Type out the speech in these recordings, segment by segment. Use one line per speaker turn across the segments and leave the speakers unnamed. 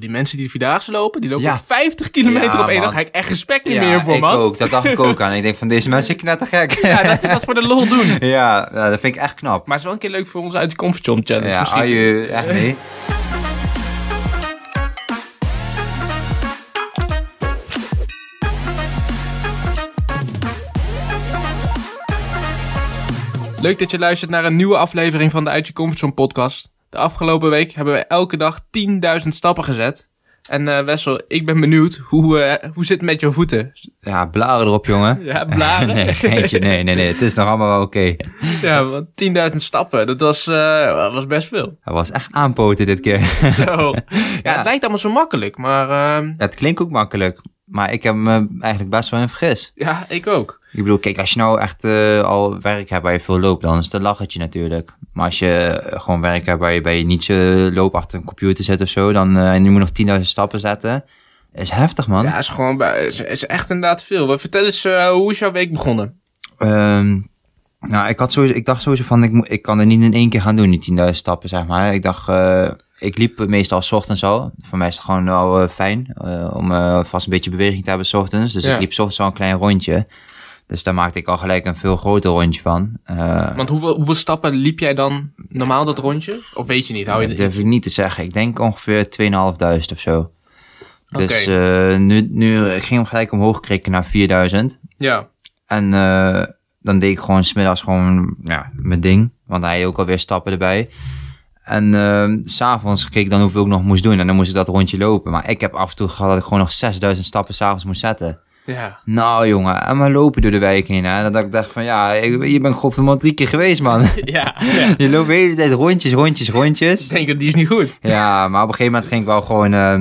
Die mensen die de Vierdaagse lopen, die lopen
Ja.
50 kilometer
Ja,
op één
man.
dag. Ga ik echt respect niet
Ja,
meer voor,
ik
man.
ook. Dat dacht ik ook aan. Ik denk van, deze mensen zijn gek.
Ja,
Ja,
dat ze dat voor de lol doen.
ja, nou, dat vind ik echt knap.
Maar het is wel een keer leuk voor ons uit de comfortzone challenge
Ja,
misschien.
aju, echt nee.
Leuk dat je luistert naar een nieuwe aflevering van de Uit Je Comfortzone podcast. De afgelopen week hebben we elke dag 10.000 stappen gezet. En eh, Wessel, ik ben benieuwd, hoe, eh, hoe zit het met jouw voeten?
Ja, blaren erop, jongen.
Ja, blaren.
Nee, geintje, nee, nee, nee. Het is nog allemaal wel oké.
Ja, want 10.000 stappen, dat was, eh, dat was best veel.
Hij was echt aanpoten dit keer.
Zo. Ja, het lijkt allemaal zo makkelijk, maar ehm,
Het klinkt ook makkelijk, maar ik heb me eigenlijk best wel in vergis.
ja, ik ook.
Ik bedoel, kijk, als je nou echt eh, al werk hebt waar je veel loopt, dan is dat lachertje natuurlijk. Maar als je eh, gewoon werk hebt waar je, waar je niet zo loopt achter een computer zit of zo, dan eh, en je moet nog 10.000 stappen zetten. Is heftig, man.
Ja, is gewoon bij- is, is echt inderdaad veel. Maar Vertel eens, eh, hoe is jouw week begonnen?
Ehm, nou, ik, had sowieso, ik dacht sowieso van, ik, moet- ik kan er niet in één keer gaan doen, die 10.000 stappen, zeg maar. Ik dacht, eh, ik liep meestal 's ochtends al. Voor mij is het gewoon wel eh, fijn eh, om eh, vast een beetje beweging te hebben 's ochtends. Dus
Ja.
ik liep 's ochtends al een klein rondje. Dus daar maakte ik al gelijk een veel groter rondje van. Eh,
Want hoeveel, hoeveel stappen liep jij dan normaal dat rondje? Of weet je niet? Hou je
dat durf ik niet te zeggen. Ik denk ongeveer 2500 of zo. Dus eh, nu, nu ik ging hem gelijk omhoog krikken naar 4000.
Ja,
En eh, dan deed ik gewoon smiddags gewoon ja, mijn ding. Want hij had ook alweer stappen erbij. En eh, s s'avonds keek ik dan hoeveel ik nog moest doen. En dan moest ik dat rondje lopen. Maar ik heb af en toe gehad dat ik gewoon nog 6000 stappen s'avonds moest zetten.
ja.
Nou jongen, en maar lopen door de wijk heen. Hè? Dat ik dacht van ja, ik, je bent godverdomme drie keer geweest man.
Ja, ja.
Je loopt de hele tijd rondjes, rondjes, rondjes.
Ik denk dat die is niet goed.
Ja, maar op een gegeven moment ging ik wel gewoon eh,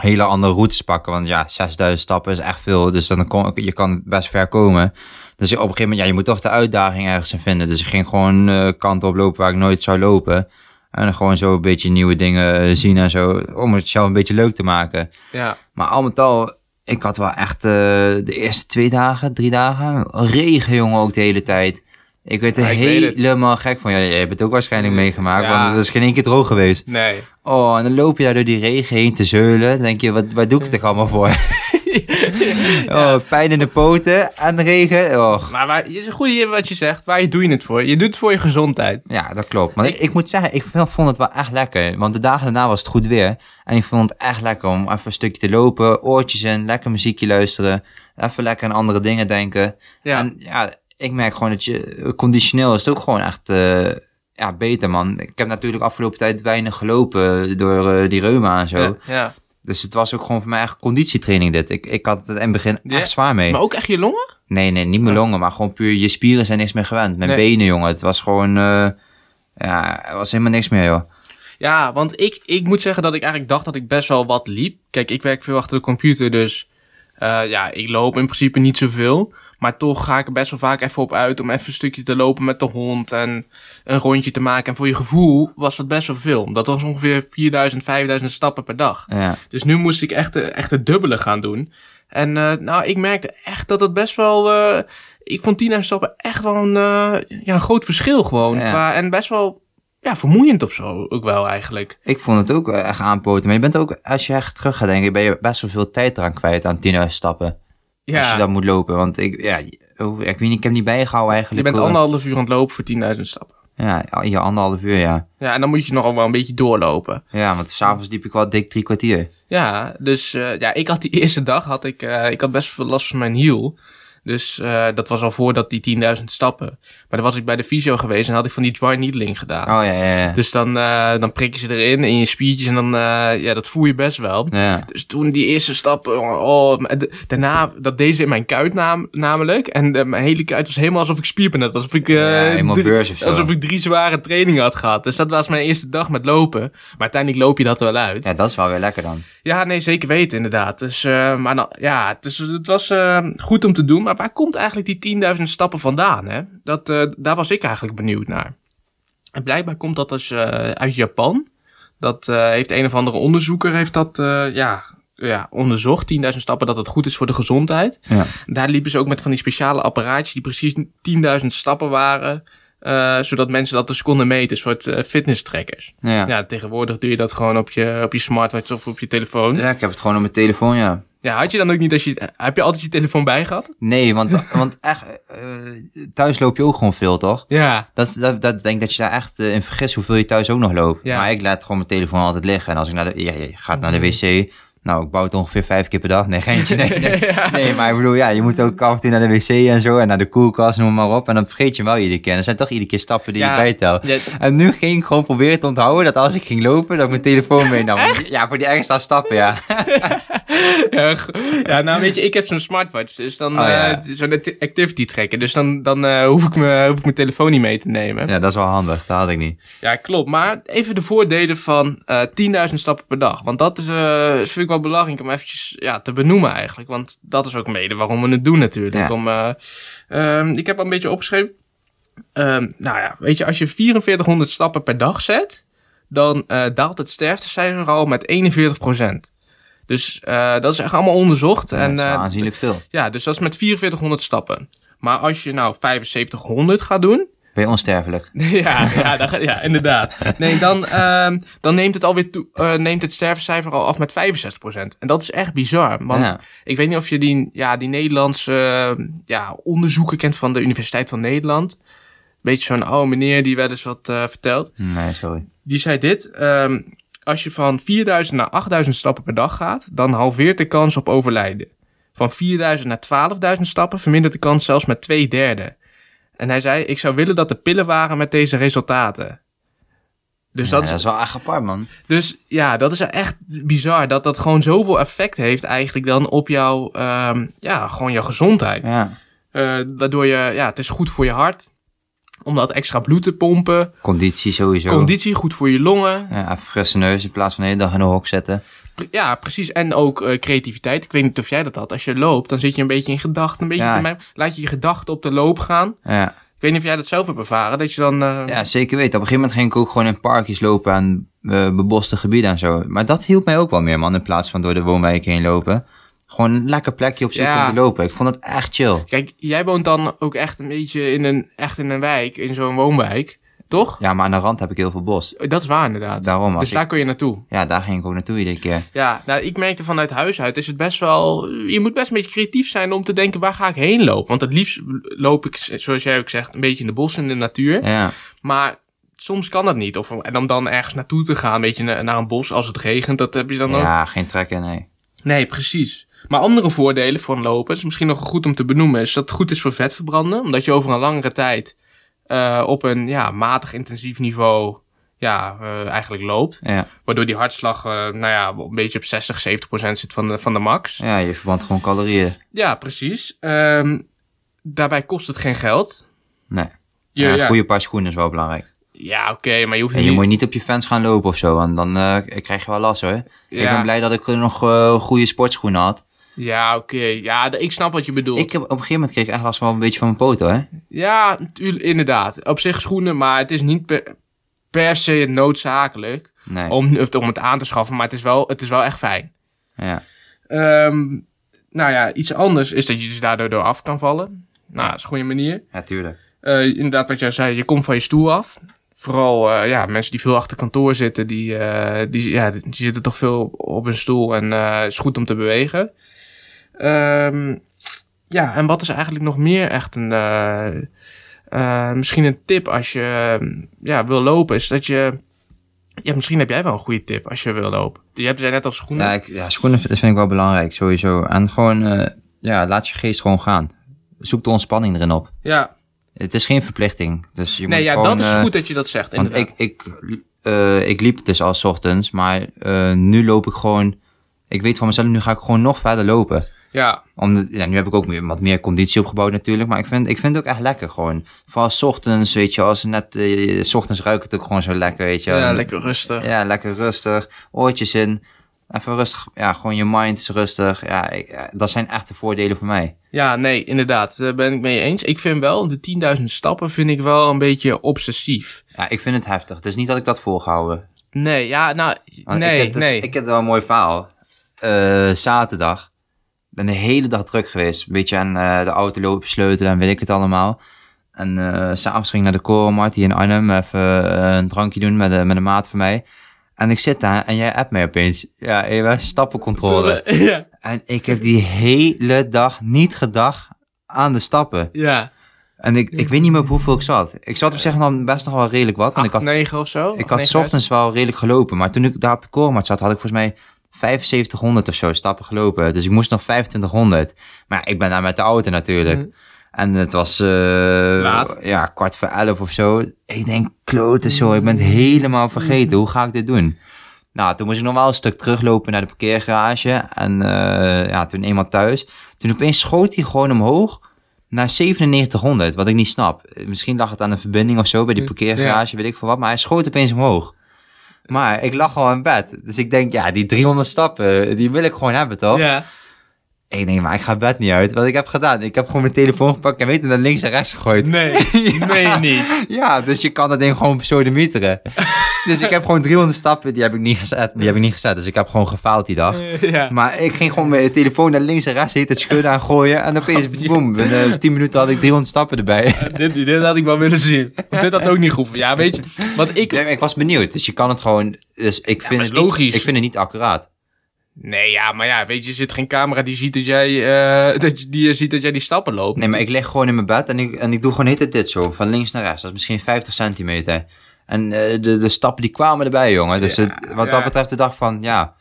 hele andere routes pakken. Want ja, 6000 stappen is echt veel. Dus dan kon, je kan best ver komen. Dus op een gegeven moment, ja, je moet toch de uitdaging ergens in vinden. Dus ik ging gewoon eh kanten op lopen waar ik nooit zou lopen. En dan gewoon zo een beetje nieuwe dingen eh, zien en zo. Om het zelf een beetje leuk te maken.
Ja,
Maar al met al, ik had wel echt eh, de eerste twee dagen, drie dagen, regen jongen ook de hele tijd. Ik werd er
Ja, ik weet het.
helemaal gek van. Ja, jij hebt het ook waarschijnlijk meegemaakt,
Ja.
want het was geen één keer droog geweest.
nee.
Oh, en dan loop je daar door die regen heen te zeulen. Dan denk je, wat, waar doe ik het toch allemaal voor? oh, pijn in de poten en regen. Och.
Maar waar, het is een goede wat je zegt. Waar je doe je het voor? Je doet het voor je gezondheid.
Ja, dat klopt. Maar ik, ik moet zeggen, ik vind- vond het wel echt lekker. Want de dagen daarna was het goed weer. En ik vond het echt lekker om even een stukje te lopen, oortjes in, lekker muziekje luisteren. Even lekker aan andere dingen denken.
Ja,
En ja, ik merk gewoon dat je conditioneel is het ook gewoon echt eh, ja, beter, man. Ik heb natuurlijk afgelopen tijd weinig gelopen door eh, die reuma en zo.
ja, ja.
Dus het was ook gewoon voor mij echt conditietraining dit. Ik, ik had het in het begin
Ja.
echt zwaar mee.
Maar ook echt je longen?
Nee, nee, niet mijn longen, maar gewoon puur je spieren zijn niks meer gewend. Mijn
Nee.
benen, jongen. Het was gewoon, eh, ja, er was helemaal niks meer, joh.
Ja, want ik, ik moet zeggen dat ik eigenlijk dacht dat ik best wel wat liep. Kijk, ik werk veel achter de computer, dus eh, ja, ik loop in principe niet zoveel. Maar toch ga ik er best wel vaak even op uit om even een stukje te lopen met de hond en een rondje te maken. En voor je gevoel was dat best wel veel. Dat was ongeveer 4000, 5000 stappen per dag.
Ja.
Dus nu moest ik echt, de- echt het dubbele gaan doen. En eh, nou, ik merkte echt dat het best wel... eh, ik vond 10.000 stappen echt wel een, eh, ja, een groot verschil gewoon.
Ja.
Qua- en best wel ja, vermoeiend of zo ook wel eigenlijk.
Ik vond het ook eh, echt aanpoten. Maar je bent ook, als je echt terug gaat denken, ben je best wel veel tijd eraan kwijt aan 10.000 stappen. Als je
Ja,
dat moet lopen. Want ik, ja, hoe- ik, weet niet, ik heb niet bijgehouden
je
eigenlijk.
bent
hoor.
anderhalf uur aan het lopen voor 10.000 stappen.
Ja, je anderhalf uur, ja.
Ja, en dan moet je nogal wel een beetje doorlopen.
Ja, want s'avonds liep ik wel dik drie kwartier.
Ja, dus eh, ja, ik had die eerste dag, had ik, eh, ik had best veel last van mijn hiel. Dus eh, dat was al voordat die 10.000 stappen. Maar dan was ik bij de fysio geweest en had ik van die dry needling gedaan.
Oh, ja, ja, ja.
Dus dan, eh dan prik je ze erin in je spiertjes en dan, eh, ja, dat voel je best wel.
ja.
Dus toen die eerste stap, oh, maar d- daarna, dat deze in mijn kuit nam, namelijk. En eh, mijn hele kuit was helemaal alsof ik spierpen had. Alsof ik, eh,
Ja, helemaal
drie-
beurs of zo.
alsof ik drie zware trainingen had gehad. Dus dat was mijn eerste dag met lopen. Maar uiteindelijk loop je dat wel uit. Ja,
Ja, dat is wel weer lekker dan.
nee, zeker weten inderdaad. Dus, eh, maar nou, ja, dus het was eh, goed om te doen. Maar waar komt eigenlijk die 10.000 stappen vandaan, hè? Dat, eh, daar was ik eigenlijk benieuwd naar. En blijkbaar komt dat dus eh, uit Japan. Dat eh, heeft een of andere onderzoeker heeft dat, eh, ja, ja, onderzocht. 10.000 stappen dat het goed is voor de gezondheid.
Ja.
Daar liepen ze ook met van die speciale apparaatjes die precies 10.000 stappen waren. eh, zodat mensen dat dus konden meten, een soort eh, fitness trackers.
Ja.
Ja. tegenwoordig doe je dat gewoon op je, op je smartwatch of op je telefoon. Ja.
Ja, ik heb het gewoon op mijn telefoon, ja.
had je dan ook niet als je, heb je altijd je telefoon bij gehad?
Nee, want, want echt, eh, thuis loop je ook gewoon veel, toch?
Ja.
Dat, dat, dat ik denk dat je daar echt eh, in vergist hoeveel je thuis ook nog loopt.
Ja. Mhm.
Maar ik laat gewoon mijn telefoon altijd liggen. En als ik naar de, ja, je gaat naar de wc. Nou, ik bouw het ongeveer vijf keer per dag. Nee, geintje. Nee, nee. nee, maar ik bedoel, ja, je moet ook af en toe naar de wc en zo. En naar de koelkast, noem maar op. En dan vergeet je hem wel iedere keer. En er zijn toch iedere keer stappen die
Ja.
je bijtelt.
Ja,
En nu ging ik gewoon proberen te onthouden dat als ik ging lopen, dat ik mijn telefoon meenam. Ja, voor die extra stappen, ja.
Ja, g- ja, nou weet je, ik heb zo'n smartwatch, dus dan
Oh, ja.
eh, zo'n acti- activity tracker. Dus dan, dan eh, hoef, ik me, hoef ik mijn telefoon niet mee te nemen. Ja,
Ja, dat is wel handig. Dat had ik niet.
klopt. Maar even de voordelen van eh 10.000 stappen per dag. Want dat is, eh, is vind ik wel belangrijk om eventjes ja, te benoemen eigenlijk. Want dat is ook mede waarom we het doen natuurlijk.
Ja.
Om, eh, ehm, ik heb al een beetje opgeschreven. Ehm, nou ja, weet je, als je 4400 stappen per dag zet, dan eh, daalt het sterftecijfer al met 41%. Dus eh, dat is echt allemaal onderzocht.
Ja,
en
dat is wel
eh,
aanzienlijk veel.
ja, dus dat is met 4400 stappen. Maar als je nou 7500 gaat doen.
Ben je onsterfelijk?
ja, ja, dan ga- ja, inderdaad. Nee, dan, ehm, dan neemt het alweer toe, eh, neemt het sterfcijfer al af met 65%. En dat is echt bizar. Want
Ja.
ik weet niet of je die, ja, die Nederlandse eh, ja, onderzoeken kent van de Universiteit van Nederland. Beetje zo'n oude meneer die wel eens wat eh, vertelt.
Nee, sorry.
Die zei dit. ehm, als je van 4000 naar 8000 stappen per dag gaat, dan halveert de kans op overlijden. Van 4000 naar 12.000 stappen vermindert de kans zelfs met twee derde. En hij zei, ik zou willen dat er pillen waren met deze resultaten. Dus,
Ja,
dat is,
dat is wel echt apart, man.
dus ja, dat is echt bizar. Dat dat gewoon zoveel effect heeft eigenlijk dan op jouw, ehm, ja, gewoon jouw gezondheid.
Ja.
Eh, waardoor je, ja, het is goed voor je hart. Om dat extra bloed te pompen.
Conditie sowieso.
Conditie, goed voor je longen.
Ja, even frisse neus in plaats van de hele dag in de hok zetten.
Pre- Ja, precies. En ook eh, creativiteit. Ik weet niet of jij dat had. Als je loopt, dan zit je een beetje in gedachten. Een beetje
Ja.
te mijmeren. Laat je je gedachten op de loop gaan.
Ja.
Ik weet niet of jij dat zelf hebt ervaren. Dat je dan... eh,
ja, zeker weten. Op een gegeven moment ging ik ook gewoon in parkjes lopen aan eh, beboste gebieden en zo. Maar dat hielp mij ook wel meer, man, in plaats van door de woonwijk heen lopen. Gewoon een lekker plekje op zoek
Ja.
om te lopen. Ik vond dat echt chill.
Kijk, jij woont dan ook echt een beetje in een, echt in een wijk. In zo'n woonwijk. Toch?
Ja, maar aan de rand heb ik heel veel bos.
Dat is waar inderdaad.
Daarom, als
dus daar kun je naartoe.
Ja, daar ging ik ook naartoe iedere keer.
Ja, nou, ik merkte vanuit huis uit is het best wel... Je moet best een beetje creatief zijn om te denken, waar ga ik heen lopen? Want het liefst loop ik, zoals jij ook zegt, een beetje in de bossen, in de natuur.
Ja,
Maar soms kan dat niet. Of, en om dan ergens naartoe te gaan, een beetje na- naar een bos als het regent, dat heb je dan ook.
ja geen trekken, nee.
Nee, precies. Maar andere voordelen van lopen, is misschien nog goed om te benoemen, is dat het goed is voor vetverbranden. Omdat je over een langere tijd eh, op een ja, matig intensief niveau ja, eh, eigenlijk loopt.
Ja.
Waardoor die hartslag eh, nou ja, een beetje op 60, 70 procent zit van de, van de max.
ja, je verbrandt gewoon calorieën.
Ja, precies. Ehm, daarbij kost het geen geld.
Nee.
Je-
ja,
ja,
goede paar schoenen is wel belangrijk.
Ja, oké, maar je hoeft
En
het
je
niet...
moet niet op je fans gaan lopen of zo, want dan eh, krijg je wel last hoor. Ik
Ja.
ben blij dat ik nog eh, goede sportschoenen had.
Ja, oké. Ja, d- ik snap wat je bedoelt.
Ik heb, op een gegeven moment kreeg ik echt last van wel een beetje van mijn poten, hè?
Ja, natuurlijk, inderdaad. Op zich schoenen, maar het is niet per, per se noodzakelijk
Nee.
om, het- om het aan te schaffen. Maar het is wel, het is wel echt fijn.
Ja.
Ehm, nou ja, iets anders is dat je dus daardoor door af kan vallen. Nou, dat is een goede manier.
ja, tuurlijk.
Eh, inderdaad, wat jij zei, je komt van je stoel af. Vooral eh, ja, mensen die veel achter kantoor zitten, die, eh, die, ja, die zitten toch veel op hun stoel en eh, het is goed om te bewegen. Ehm, ja, en wat is eigenlijk nog meer echt een. eh, eh, misschien een tip als je eh, ja, wil lopen, is dat je. Ja, misschien heb jij wel een goede tip als je wil lopen. Je hebt zei net al schoenen.
Ja, ik, ja, schoenen vind vind ik wel belangrijk, sowieso. En gewoon, eh, ja, laat je geest gewoon gaan. Zoek de ontspanning erin op.
ja.
Het is geen verplichting, dus je
Nee,
moet
ja,
gewoon...
dat is
eh,
goed dat je dat zegt.
Want
inderdaad.
ik, ik, eh, ik liep dus al 's ochtends, maar eh, nu loop ik gewoon... Ik weet van mezelf, nu ga ik gewoon nog verder lopen.
ja,
Omdat, ja, nu heb ik ook meer, wat meer conditie opgebouwd natuurlijk. Maar ik vind, ik vind het ook echt lekker gewoon. Vooral 's ochtends, weet je. Als het net, eh, 's ochtends ruikt het ook gewoon zo lekker, weet je.
ja,
En-
lekker rustig.
Ja, lekker rustig. Oortjes in. Even rustig. Ja, gewoon je mind is rustig. Ja, ik- ja, dat zijn echte voordelen voor mij.
Ja, nee, inderdaad. Daar ben ik mee eens. Ik vind wel, de 10.000 stappen vind ik wel een beetje obsessief.
Ja, ik vind het heftig. Het is niet dat ik dat volgehouden.
Nee, ja, nou,
Want
nee,
ik heb, dus-
nee.
Ik heb wel een mooi verhaal. Eh, zaterdag. ben de hele dag druk geweest. Een beetje aan eh, de auto lopen sleutelen en weet ik het allemaal. En eh, s s'avonds ging ik naar de Korenmarkt hier in Arnhem even eh, een drankje doen met, eh, met een maat van mij. En ik zit daar en jij appt mij opeens. Ja, je was stappencontrole.
Ja,
En ik heb die hele dag niet gedacht aan de stappen.
ja.
En ik, ik weet niet meer op hoeveel ik zat. Ik zat op zich dan best nog wel redelijk wat. Want ik had,
9 of zo.
ik had 's
9 uit.
ochtends wel redelijk gelopen. Maar toen ik daar op de korenmarkt zat, had ik volgens mij 7500 of zo stappen gelopen. Dus ik moest nog 2500. Maar ja, ik ben daar met de auto natuurlijk.
Mhm.
En het was eh,
Laat.
Ja, kwart voor elf of zo. Ik denk, klote zo, ik ben het helemaal vergeten. Hoe ga ik dit doen? Nou, toen moest ik nog wel een stuk teruglopen naar de parkeergarage. En eh, ja, toen eenmaal thuis. Toen opeens schoot hij gewoon omhoog naar 9700, wat ik niet snap. Eh, Misschien lag het aan een verbinding of zo bij die
Ja.
parkeergarage, weet ik veel wat. Maar hij schoot opeens omhoog. Maar ik lag al in bed. Dus ik denk, ja, die 300 stappen, die wil ik gewoon hebben, toch?
Ja.
Ik denk, maar ik ga bed niet uit. Wat ik heb gedaan, ik heb gewoon mijn telefoon gepakt en weet je, naar links en rechts gegooid.
Nee, nee niet.
Ja, dus je kan dat ding gewoon besodemieteren. dus ik heb gewoon 300 stappen, die heb ik niet gezet. Die heb ik niet gezet, dus ik heb gewoon gefaald die dag.
Ja.
Maar ik ging gewoon mijn telefoon naar links en rechts heet het schudden aan gooien. En opeens, boem, binnen 10 minuten had ik 300 stappen erbij.
Dit, dit had ik wel willen zien. Want dit had ook niet goed. Ja, weet je, wat ik...
Nee, maar ik was benieuwd, dus je kan het gewoon... Dus ik vind,
maar
het,
is
Niet,
logisch.
ik vind het niet accuraat.
Nee, ja, maar ja, weet je, er zit geen camera die ziet dat jij, eh, dat, je- die ziet dat jij die stappen loopt.
Nee, maar ik lig gewoon in mijn bed en ik, en ik doe gewoon de hele tijd dit zo, van links naar rechts. Dat is misschien 50 centimeter. En eh, de, de stappen die kwamen erbij, jongen. Dus
Ja,
het- wat dat
ja.
betreft, de dag van, ja,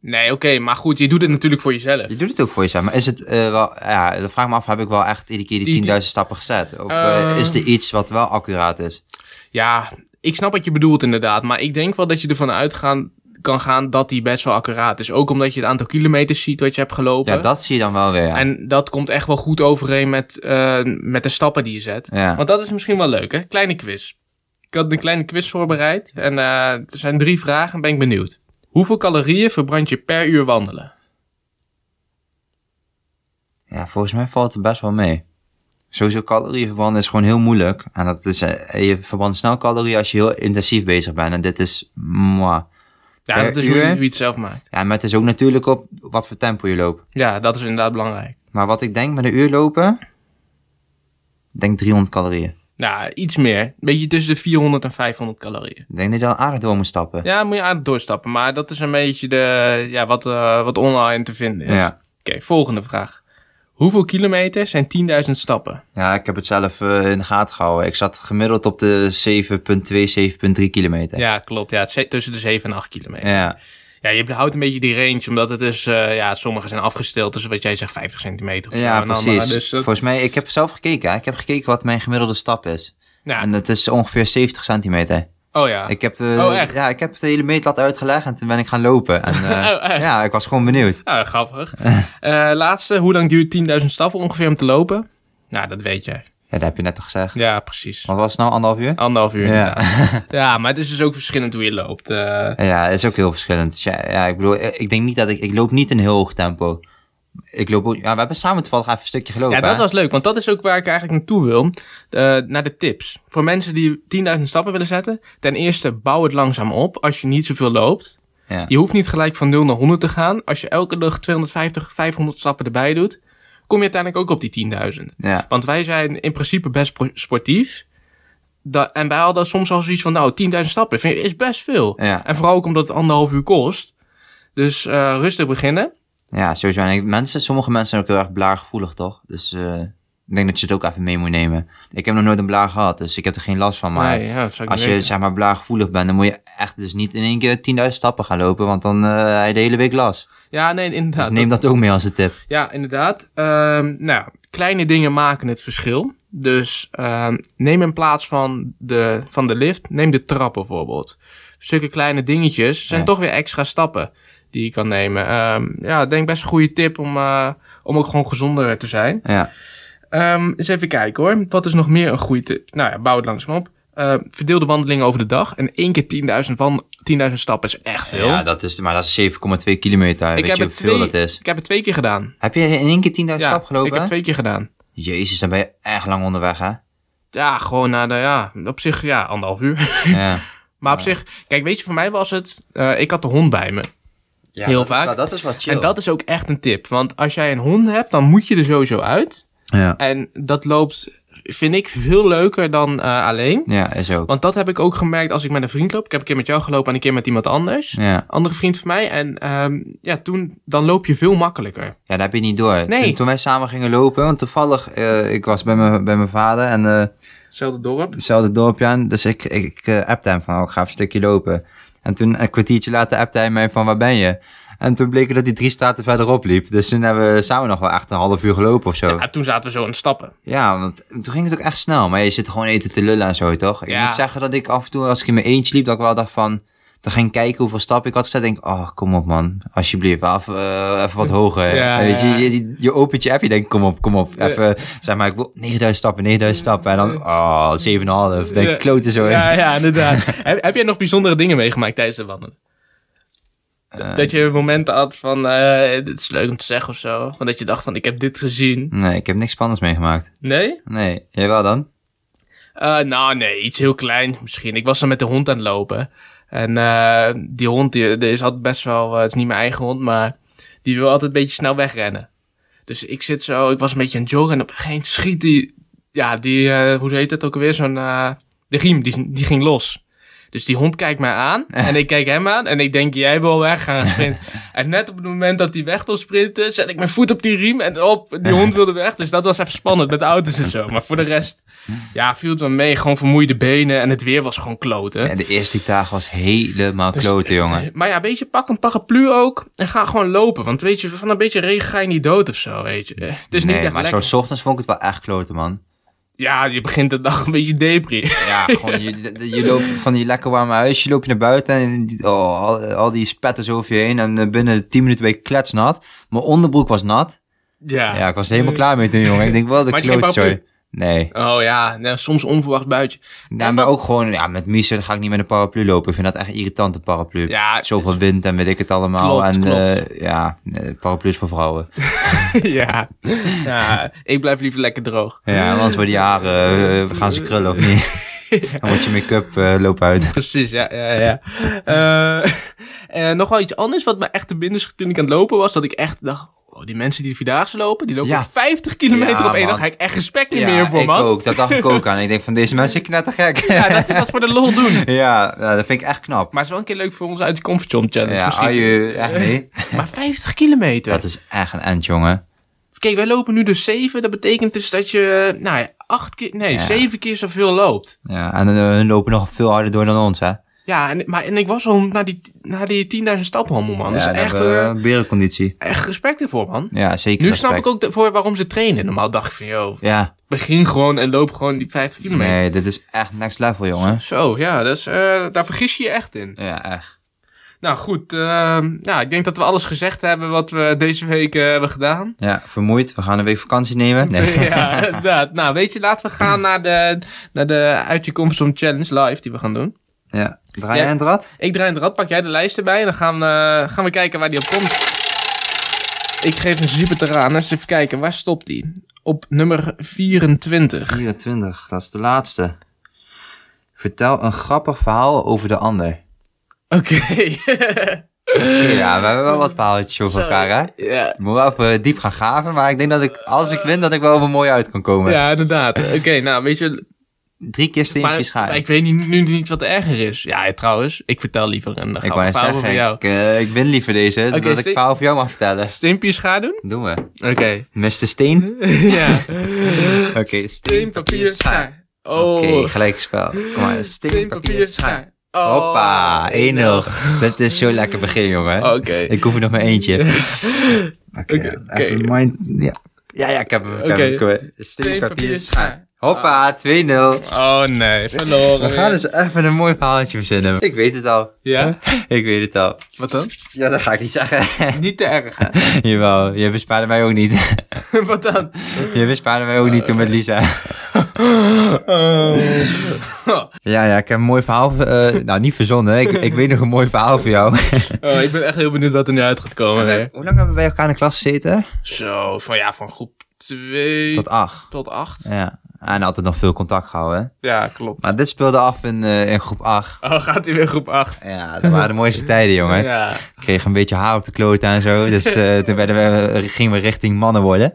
Nee, oké, maar goed, je doet het natuurlijk voor jezelf.
je doet het ook voor jezelf. Maar is het eh, wel, ja, dan vraag ik me af, heb ik wel echt iedere keer
Die-
die
die-
10.000 stappen gezet? Of eh,
Eh.
is er iets wat wel accuraat is?
Ja, ik snap wat je bedoelt inderdaad. Maar ik denk wel dat je ervan uitgaan kan gaan dat die best wel accuraat is. Ook omdat je het aantal kilometers ziet wat je hebt gelopen.
Ja, dat zie je dan wel weer, ja.
En dat komt echt wel goed overeen met, eh, met de stappen die je zet.
Ja.
Want dat is misschien wel leuk, hè? Kleine quiz. Ik had een kleine quiz voorbereid. En eh, er zijn drie vragen en ben ik benieuwd. Hoeveel calorieën verbrand je per uur wandelen?
Ja, volgens mij valt het best wel mee. Sowieso calorieën verbranden is gewoon heel moeilijk. En dat is, eh, je verbrandt snel calorieën als je heel intensief bezig bent. En dit is, moi.
Ja,
Per
dat is hoe je,
uur?
hoe je het zelf maakt.
Ja, maar het is ook natuurlijk op wat voor tempo je loopt.
Ja, dat is inderdaad belangrijk.
Maar wat ik denk met een uur lopen, ik denk 300 calorieën.
Nou, iets meer. Een beetje tussen de 400 en 500 calorieën.
Ik denk dat je dan aardig door moet stappen.
Ja, moet je aan het doorstappen. Maar dat is een beetje de, ja, wat, eh, wat online te vinden is.
ja.
Oké, volgende vraag. Hoeveel kilometer zijn 10.000 stappen?
Ja, ik heb het zelf eh, in de gaten gehouden. Ik zat gemiddeld op de 7,2, 7,3 kilometer.
Ja, klopt. Ja, het zit tussen de 7 en 8 kilometer.
Ja.
Ja, je houdt een beetje die range, omdat het is, eh, ja, sommige zijn afgesteld tussen wat jij zegt 50 centimeter of zo. en
Ja,
andere,
precies.
dus dat-
Volgens mij, ik heb zelf gekeken. hè. Ik heb gekeken wat mijn gemiddelde stap is.
ja.
En dat is ongeveer 70 centimeter.
Oh ja.
Ik heb, eh,
Oh, echt?
Ja, ik heb de hele meetlat uitgelegd en toen ben ik gaan lopen. En, eh,
Oh, echt?
Ja, ik was gewoon benieuwd.
Ah, grappig. Eh, laatste, hoe lang duurt 10.000 stappen ongeveer om te lopen? Nou, dat weet jij.
Ja, dat heb je net al gezegd.
Ja, precies.
Wat was het nou, anderhalf uur?
Anderhalf uur.
Ja.
Ja. ja, maar het is dus ook verschillend hoe je loopt. Eh,
Ja, het is ook heel verschillend. Dus ja, ja, ik bedoel, eh, ik denk niet dat ik... Ik loop niet in heel hoog tempo. Ik loop ook... Ja, we hebben samen toevallig even een stukje gelopen,
Ja, dat
hè?
was leuk, want dat is ook waar ik eigenlijk naartoe wil. Eh, naar de tips. Voor mensen die 10.000 stappen willen zetten. Ten eerste, bouw het langzaam op als je niet zoveel loopt.
Ja.
Je hoeft niet gelijk van 0 naar 100 te gaan. Als je elke dag 250, 500 stappen erbij doet, kom je uiteindelijk ook op die 10.000.
Ja.
Want wij zijn in principe best pro- sportief. Da- en wij hadden soms al zoiets van, nou, 10.000 stappen vind ik- is best veel.
Ja.
En vooral ook omdat het anderhalf uur kost. Dus eh, rustig beginnen.
ja, sowieso. En ik- mensen, sommige mensen zijn ook heel erg blaargevoelig, toch? Dus eh, ik denk dat je het ook even mee moet nemen. Ik heb nog nooit een blaar gehad, dus ik heb er geen last van. Maar
Nee, ja, dat zou ik
als
niet
je,
weten.
zeg maar, blaargevoelig bent... dan moet je echt dus niet in één keer 10.000 stappen gaan lopen... want dan eh heb je de hele week last.
Ja, nee, inderdaad.
Dus neem dat ook mee als een tip.
Ja, inderdaad. Ehm, nou, kleine dingen maken het verschil. Dus ehm, neem in plaats van de, van de lift, neem de trap bijvoorbeeld. Zulke kleine dingetjes zijn
Ja.
toch weer extra stappen die je kan nemen. Ehm, ja, ik denk best een goede tip om, eh, om ook gewoon gezonder te zijn.
Ja,
Ehm, eens even kijken hoor. Wat is nog meer een goede tip? Nou ja, bouw het langzaam op. Eh, verdeel de wandelingen over de dag. En één keer 10.000, van, 10.000 stappen is echt veel.
ja dat is, maar dat is 7,2 kilometer. Weet je
het
hoeveel
twee-
dat is?
ik heb het twee keer gedaan.
Heb je in één keer 10.000 stappen gelopen?
ik heb twee keer gedaan.
Jezus, dan ben je echt lang onderweg, hè?
Ja, gewoon naar de, ja, op zich, ja, anderhalf uur.
Ja.
Maar op zich, kijk, weet je, voor mij was het, eh, ik had de hond bij me.
Ja,
Heel
dat is
vaak.
wel- dat is wat chill.
En dat is ook echt een tip, want als jij een hond hebt, dan moet je er sowieso uit.
ja.
En dat loopt vind ik veel leuker dan eh, alleen.
Ja, is ook.
Want dat heb ik ook gemerkt als ik met een vriend loop. Ik heb een keer met jou gelopen en een keer met iemand anders.
Ja.
Andere vriend van mij. En ehm, ja, toen, dan loop je veel makkelijker.
ja, dat heb je niet door.
Nee.
Toen, toen wij samen gingen lopen, want toevallig, eh, ik was bij mijn bij mijn vader en eh,
Hetzelfde dorp.
hetzelfde dorpje aan. Dus ik, ik eh, appte hem van, oh, ik ga even een stukje lopen. En toen een kwartiertje later appte hij mij van, waar ben je? En toen bleek het dat hij drie straten verderop liep. Dus toen hebben we samen nog wel echt een half uur gelopen of zo.
Ja, toen zaten we zo aan het stappen.
Ja, want toen ging het ook echt snel. Maar je zit gewoon eten te lullen en zo, toch? Ik
Ja.
moet zeggen dat ik af en toe, als ik in mijn eentje liep, dat ik wel dacht van... Dan ging ik kijken hoeveel stappen ik had gezet. denk ik, oh, kom op man. Alsjeblieft, wel even, eh, even wat hoger.
Ja,
Weet je,
ja.
je, je, je opent je app, je denkt, kom op, kom op. Even, zeg maar, ik wil 9000 stappen, 9000 stappen. En dan, oh, 7,5. Denk
Ja.
ik, klote zo.
Ja, ja, inderdaad. heb, heb jij nog bijzondere dingen meegemaakt tijdens de wandelen?
Eh,
Dat je momenten had van, eh dit is leuk om te zeggen of zo. Van dat je dacht van, ik heb dit gezien.
Nee, ik heb niks spannends meegemaakt.
Nee?
Nee, jij wel dan?
Eh, nou, nee, iets heel klein misschien. Ik was dan met de hond aan het lopen. En eh, die hond, die, die is altijd best wel... eh, het is niet mijn eigen hond, maar die wil altijd een beetje snel wegrennen. Dus ik zit zo, ik was een beetje aan het joggen en op een gegeven moment schiet die... Ja, die, eh, hoe heet dat ook alweer? Zo'n, eh, de riem, die, die ging los. Dus die hond kijkt mij aan en ik kijk hem aan en ik denk, jij wil weg gaan sprinten. En net op het moment dat hij weg wil sprinten, zet ik mijn voet op die riem en op, die hond wilde weg. Dus dat was even spannend met de auto's en zo. Maar voor de rest, ja, viel het wel mee. Gewoon vermoeide benen en het weer was gewoon kloten.
Ja, de eerste die dag was helemaal
Dus-
klote, jongen.
Maar ja, weet je, pak een paraplu ook en ga gewoon lopen. Want weet je, van een beetje regen ga je niet dood of zo, weet je. Eh, Het is niet
nee,
echt
maar
lekker.
zo'n ochtends vond ik het wel echt klote, man.
Ja, je begint de dag een beetje depri.
Ja, gewoon, je, de- de- je loopt van je lekker warme huisje, loop je naar buiten en die- oh, al, al die spetters over je heen. En eh, binnen 10 minuten ben je kletsnat. Mijn onderbroek was nat.
Ja.
Ja, ik was er helemaal klaar mee toen, jongen. Ik denk wel, de
Maar had je geen
klootzooi.
paraplu?
Nee.
Oh ja, nou, soms onverwacht buitje.
Ja, maar ook gewoon, ja, met Mies dan ga ik niet met een paraplu lopen. Ik vind dat echt een irritante paraplu.
Ja,
Zoveel wind en weet ik het allemaal.
Klopt,
en
klopt.
eh, ja, eh, paraplu's voor vrouwen.
ja. ja, ik blijf liever lekker droog.
Ja, want voor die haren eh, gaan ze krullen of niet. Dan wordt je make-up eh, lopen uit.
Precies, ja, ja, ja. Eh, eh, nog wel iets anders wat me echt te binnen schiet toen ik aan het lopen was. Dat ik echt dacht, oh, die mensen die vandaag lopen, die lopen
Ja.
50 kilometer
Ja,
op één
man.
dag. Ga ik echt respect niet
Ja,
meer voor,
ik
man.
ook. Dat dacht ik ook aan. Ik denk van, deze mensen knettergek.
Ja, dat ze dat voor de lol doen.
Ja, nou, dat vind ik echt knap.
Maar het is wel een keer leuk voor ons uit de comfortzone challenge
Ja, oh,
misschien.
aju, echt nee.
Maar 50 kilometer.
Dat is echt een end, jongen.
Kijk, wij lopen nu dus 7. Dat betekent dus dat je, nou ja, 8 keer, nee,
Ja.
7 keer zoveel loopt.
Ja, en eh, hun lopen nog veel harder door dan ons, hè?
Ja, en, maar, en ik was al naar die, naar die 10.000 stappen al moe, man. Dat
ja,
is echt,
hebben we
eh,
berenconditie.
echt respect ervoor, man.
Ja, zeker.
Nu
respect.
snap ik ook de- voor waarom ze trainen. Normaal dacht ik van, joh,
Ja,
begin gewoon en loop gewoon die 50 kilometer.
nee, dit is echt next level, jongen.
Zo, ja, dat is, eh, daar vergis je je echt in.
Ja, echt.
Nou goed, ehm, ja, ik denk dat we alles gezegd hebben wat we deze week eh, hebben gedaan.
Ja, vermoeid. We gaan een week vakantie nemen. Nee.
Ja, inderdaad. Nou, weet je, laten we gaan naar de, naar de Uit je Comfortzone Challenge live die we gaan doen.
Ja. Draai
Ja.
jij een draad?
Ik draai het rad, pak jij de lijst erbij en dan gaan, we- gaan we kijken waar die op komt. Ik geef een super terraan. Eens even kijken, waar stopt die? Op nummer 24.
24, dat is de laatste. Vertel een grappig verhaal over de ander.
Oké.
Ja, we hebben wel wat verhaaltjes over
Zo.
elkaar, hè?
ja.
Ik moet wel even eh, diep gaan graven, maar ik denk dat ik, als ik win, dat ik wel over mooi uit kan komen.
ja, inderdaad. Oké, nou weet je,
Drie keer steentjes
maar,
gaan.
maar ik weet niet, nu niet wat erger is. Ja, trouwens, ik vertel liever een
Ik
grappig
wou net
verhaal
zeggen,
over jou.
ik, eh, ik win liever deze, zodat ik
Steen.
verhaal over jou mag vertellen. Dus
Stimpjes gaan doen?
Doen we.
Oké.
Mr. Steen?
ja.
Oké,
Steen, papier, schaar. Oh.
Oké, gelijk spel. Kom maar, steen, papier, schaar.
Oh. Oh.
Hoppa, 1-0. Dat is zo'n lekker begin, jongen.
Oké.
Ik hoef er nog maar eentje. Oké,
Oké, oké.
even mind... Ja. ja, ja, ik heb hem. ik heb
Oké.
hem. Kom maar. Steen, papier, schaar. Hoppa, 2-0.
Oh nee, verloren.
We gaan
weer.
dus even een mooi verhaaltje verzinnen. Ik weet het al.
Ja?
Ik weet het al.
Wat dan?
Ja, dat ga ik niet zeggen.
Niet te erg.
Jawel, je bespaarde mij ook niet.
Wat dan?
Je bespaarde mij ook niet toen met Lisa. Oh. Ja, ja, ik heb een mooi verhaal. eh, nou, niet verzonnen. Ik, ik weet nog een mooi verhaal voor jou.
Oh, ik ben echt heel benieuwd wat er nu uit gaat komen. Hè.
Hoe lang hebben we bij elkaar in de klas gezeten?
Zo, van ja, van groep 2
Tot
tot,
acht.
8.
Ja. En altijd nog veel contact gehouden. hè.
Ja, klopt.
Maar dit speelde af in, eh, in groep acht.
Oh, gaat hij weer groep 8?
Ja, dat waren de mooiste tijden, jongen.
Ja.
Ik kreeg een beetje haar op de kloot en zo. Dus eh, toen werden we, gingen we richting mannen worden.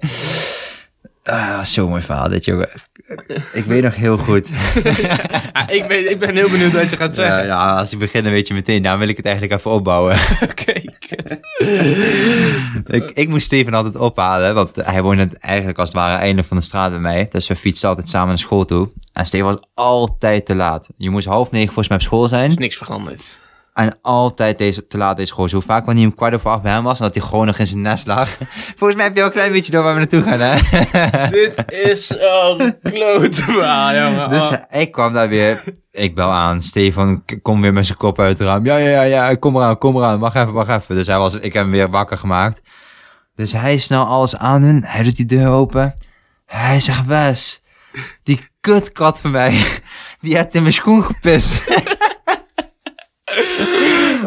Ah, zo'n mooi verhaal dit, jongen. Ik weet nog heel goed.
Ah, ik, ben, ik ben heel benieuwd wat je gaat
Ja,
zeggen.
ja, als ik begin dan weet je meteen. Nou wil ik het eigenlijk even opbouwen.
Oké, kut.
ik, ik moest Steven altijd ophalen, want hij woonde het eigenlijk als het ware einde van de straat bij mij. Dus we fietsten altijd samen naar school toe. En Steven was altijd te laat. Je moest half negen volgens mij op school
is
zijn.
niks veranderd.
En altijd deze, te laat deze gozer. Hoe vaak wanneer hij om kwart over acht bij hem was en dat hij gewoon nog in zijn nest lag. volgens mij heb je al een klein beetje door waar we naartoe gaan, hè?
Dit is een klote verhaal, jongen.
Dus
Oh.
ik kwam daar weer. Ik bel aan. Stefan k- kom weer met zijn kop uit het raam. Ja, ja, ja, ja. Kom eraan, kom eraan. Wacht even, wacht even. Dus hij was, ik heb hem weer wakker gemaakt. Dus hij snel alles aandoen. Hij doet die deur open. Hij zegt, Wes, die kutkat van mij, die heeft in mijn schoen gepist.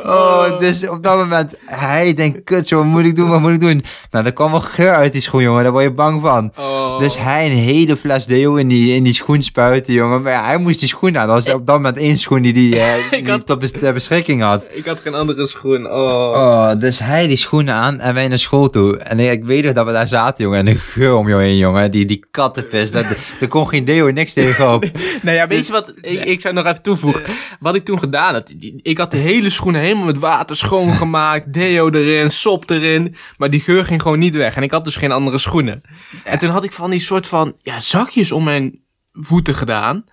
oh, dus op dat moment, hij denkt, kut, joh, wat moet ik doen, wat moet ik doen? Nou, er kwam wel geur uit die schoen, jongen. Daar word je bang van.
Oh.
Dus hij een hele fles deo in die, in die schoen spuiten, jongen. Maar ja, hij moest die schoen aan. Dat was op dat moment één schoen die, die hij
Ik had-
tot bes- ter beschikking had.
Ik had geen andere schoen. Oh.
Oh, dus hij die schoenen aan en wij naar school toe. En ik, ik weet nog dat we daar zaten, jongen. En de geur om jou heen, jongen. Die, die kattenpis. Dat, er kon geen deo, niks tegenop.
Nou ja,
Dus
weet je wat? Ik, ik zou nog even toevoegen. Wat ik toen gedaan had. Ik had de hele schoenen helemaal met water schoongemaakt. Deo erin, sop erin. Maar die geur ging gewoon niet weg. En ik had dus geen andere schoenen. En toen had ik van die soort van ja, zakjes om mijn voeten gedaan.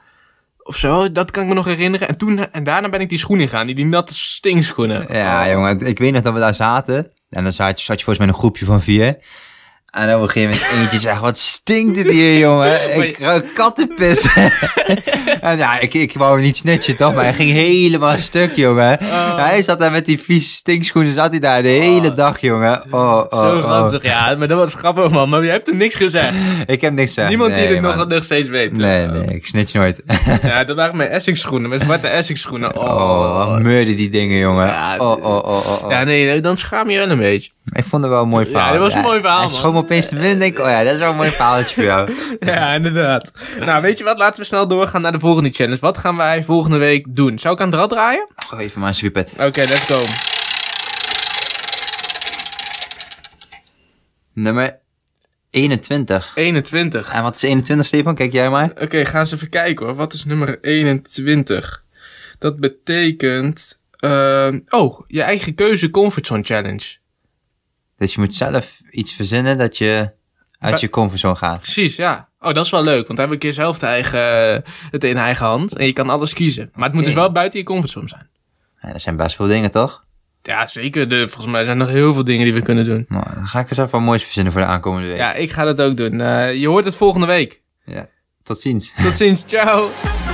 Of zo, dat kan ik me nog herinneren. En, toen, en daarna ben ik die schoenen ingegaan. Die, die natte stinkschoenen.
Ja,
Oh.
jongen. Ik weet nog dat we daar zaten. En dan zat je, zat je volgens mij in een groepje van vier. En op een gegeven moment eentje zegt, wat stinkt het hier, jongen. Ik ruik kattenpis. en ja, ik, ik wou niet snitchen, toch? Maar hij ging helemaal stuk, jongen.
Oh.
Hij zat daar met die vieze stinkschoenen, zat hij daar de hele dag, jongen. Oh, oh,
Zo
oh.
ranzig, ja. Maar dat was grappig, man. Maar je hebt toen niks gezegd.
Ik heb niks gezegd.
Niemand die
Nee,
dit nog,
man.
nog steeds weet.
Nee, nee, ik snitch nooit.
Ja, dat waren mijn Essex schoenen. Mijn zwarte Essex schoenen.
Oh, wat meurde die dingen, jongen.
Ja,
oh, oh, oh, oh, oh.
Ja, nee, nee, dan schaam je wel een beetje.
Ik vond het wel een mooi
Ja,
verhaal.
dat was een mooi verhaal,
Hij
man.
schoot me opeens te binnen en denk ik, oh ja, dat is wel een mooi verhaaltje voor jou.
Ja, inderdaad. nou, weet je wat? Laten we snel doorgaan naar de volgende challenge. Wat gaan wij volgende week doen? Zou ik aan het rad draaien?
Gooi even maar een sweepet.
Oké, let's go.
Nummer 21.
21.
En wat is 21, Stefan? Kijk jij maar.
Oké, gaan ze even kijken hoor. Wat is nummer 21? Dat betekent... ehm, oh, je eigen keuze comfortzone challenge.
Dus je moet zelf iets verzinnen dat je uit je comfortzone gaat.
Precies, ja. Oh, dat is wel leuk, want dan heb ik keer zelf de eigen, het in eigen hand. En je kan alles kiezen. Maar het moet
Oké.
dus wel buiten je comfortzone zijn.
Ja, dat zijn best veel dingen, toch?
Ja, zeker. De, volgens mij zijn er nog heel veel dingen die we kunnen doen.
Nou, dan ga ik eens even wat moois verzinnen voor de aankomende week.
Ja, ik ga dat ook doen. Eh, je hoort het volgende week.
Ja. Tot ziens.
Tot ziens. Ciao.
Something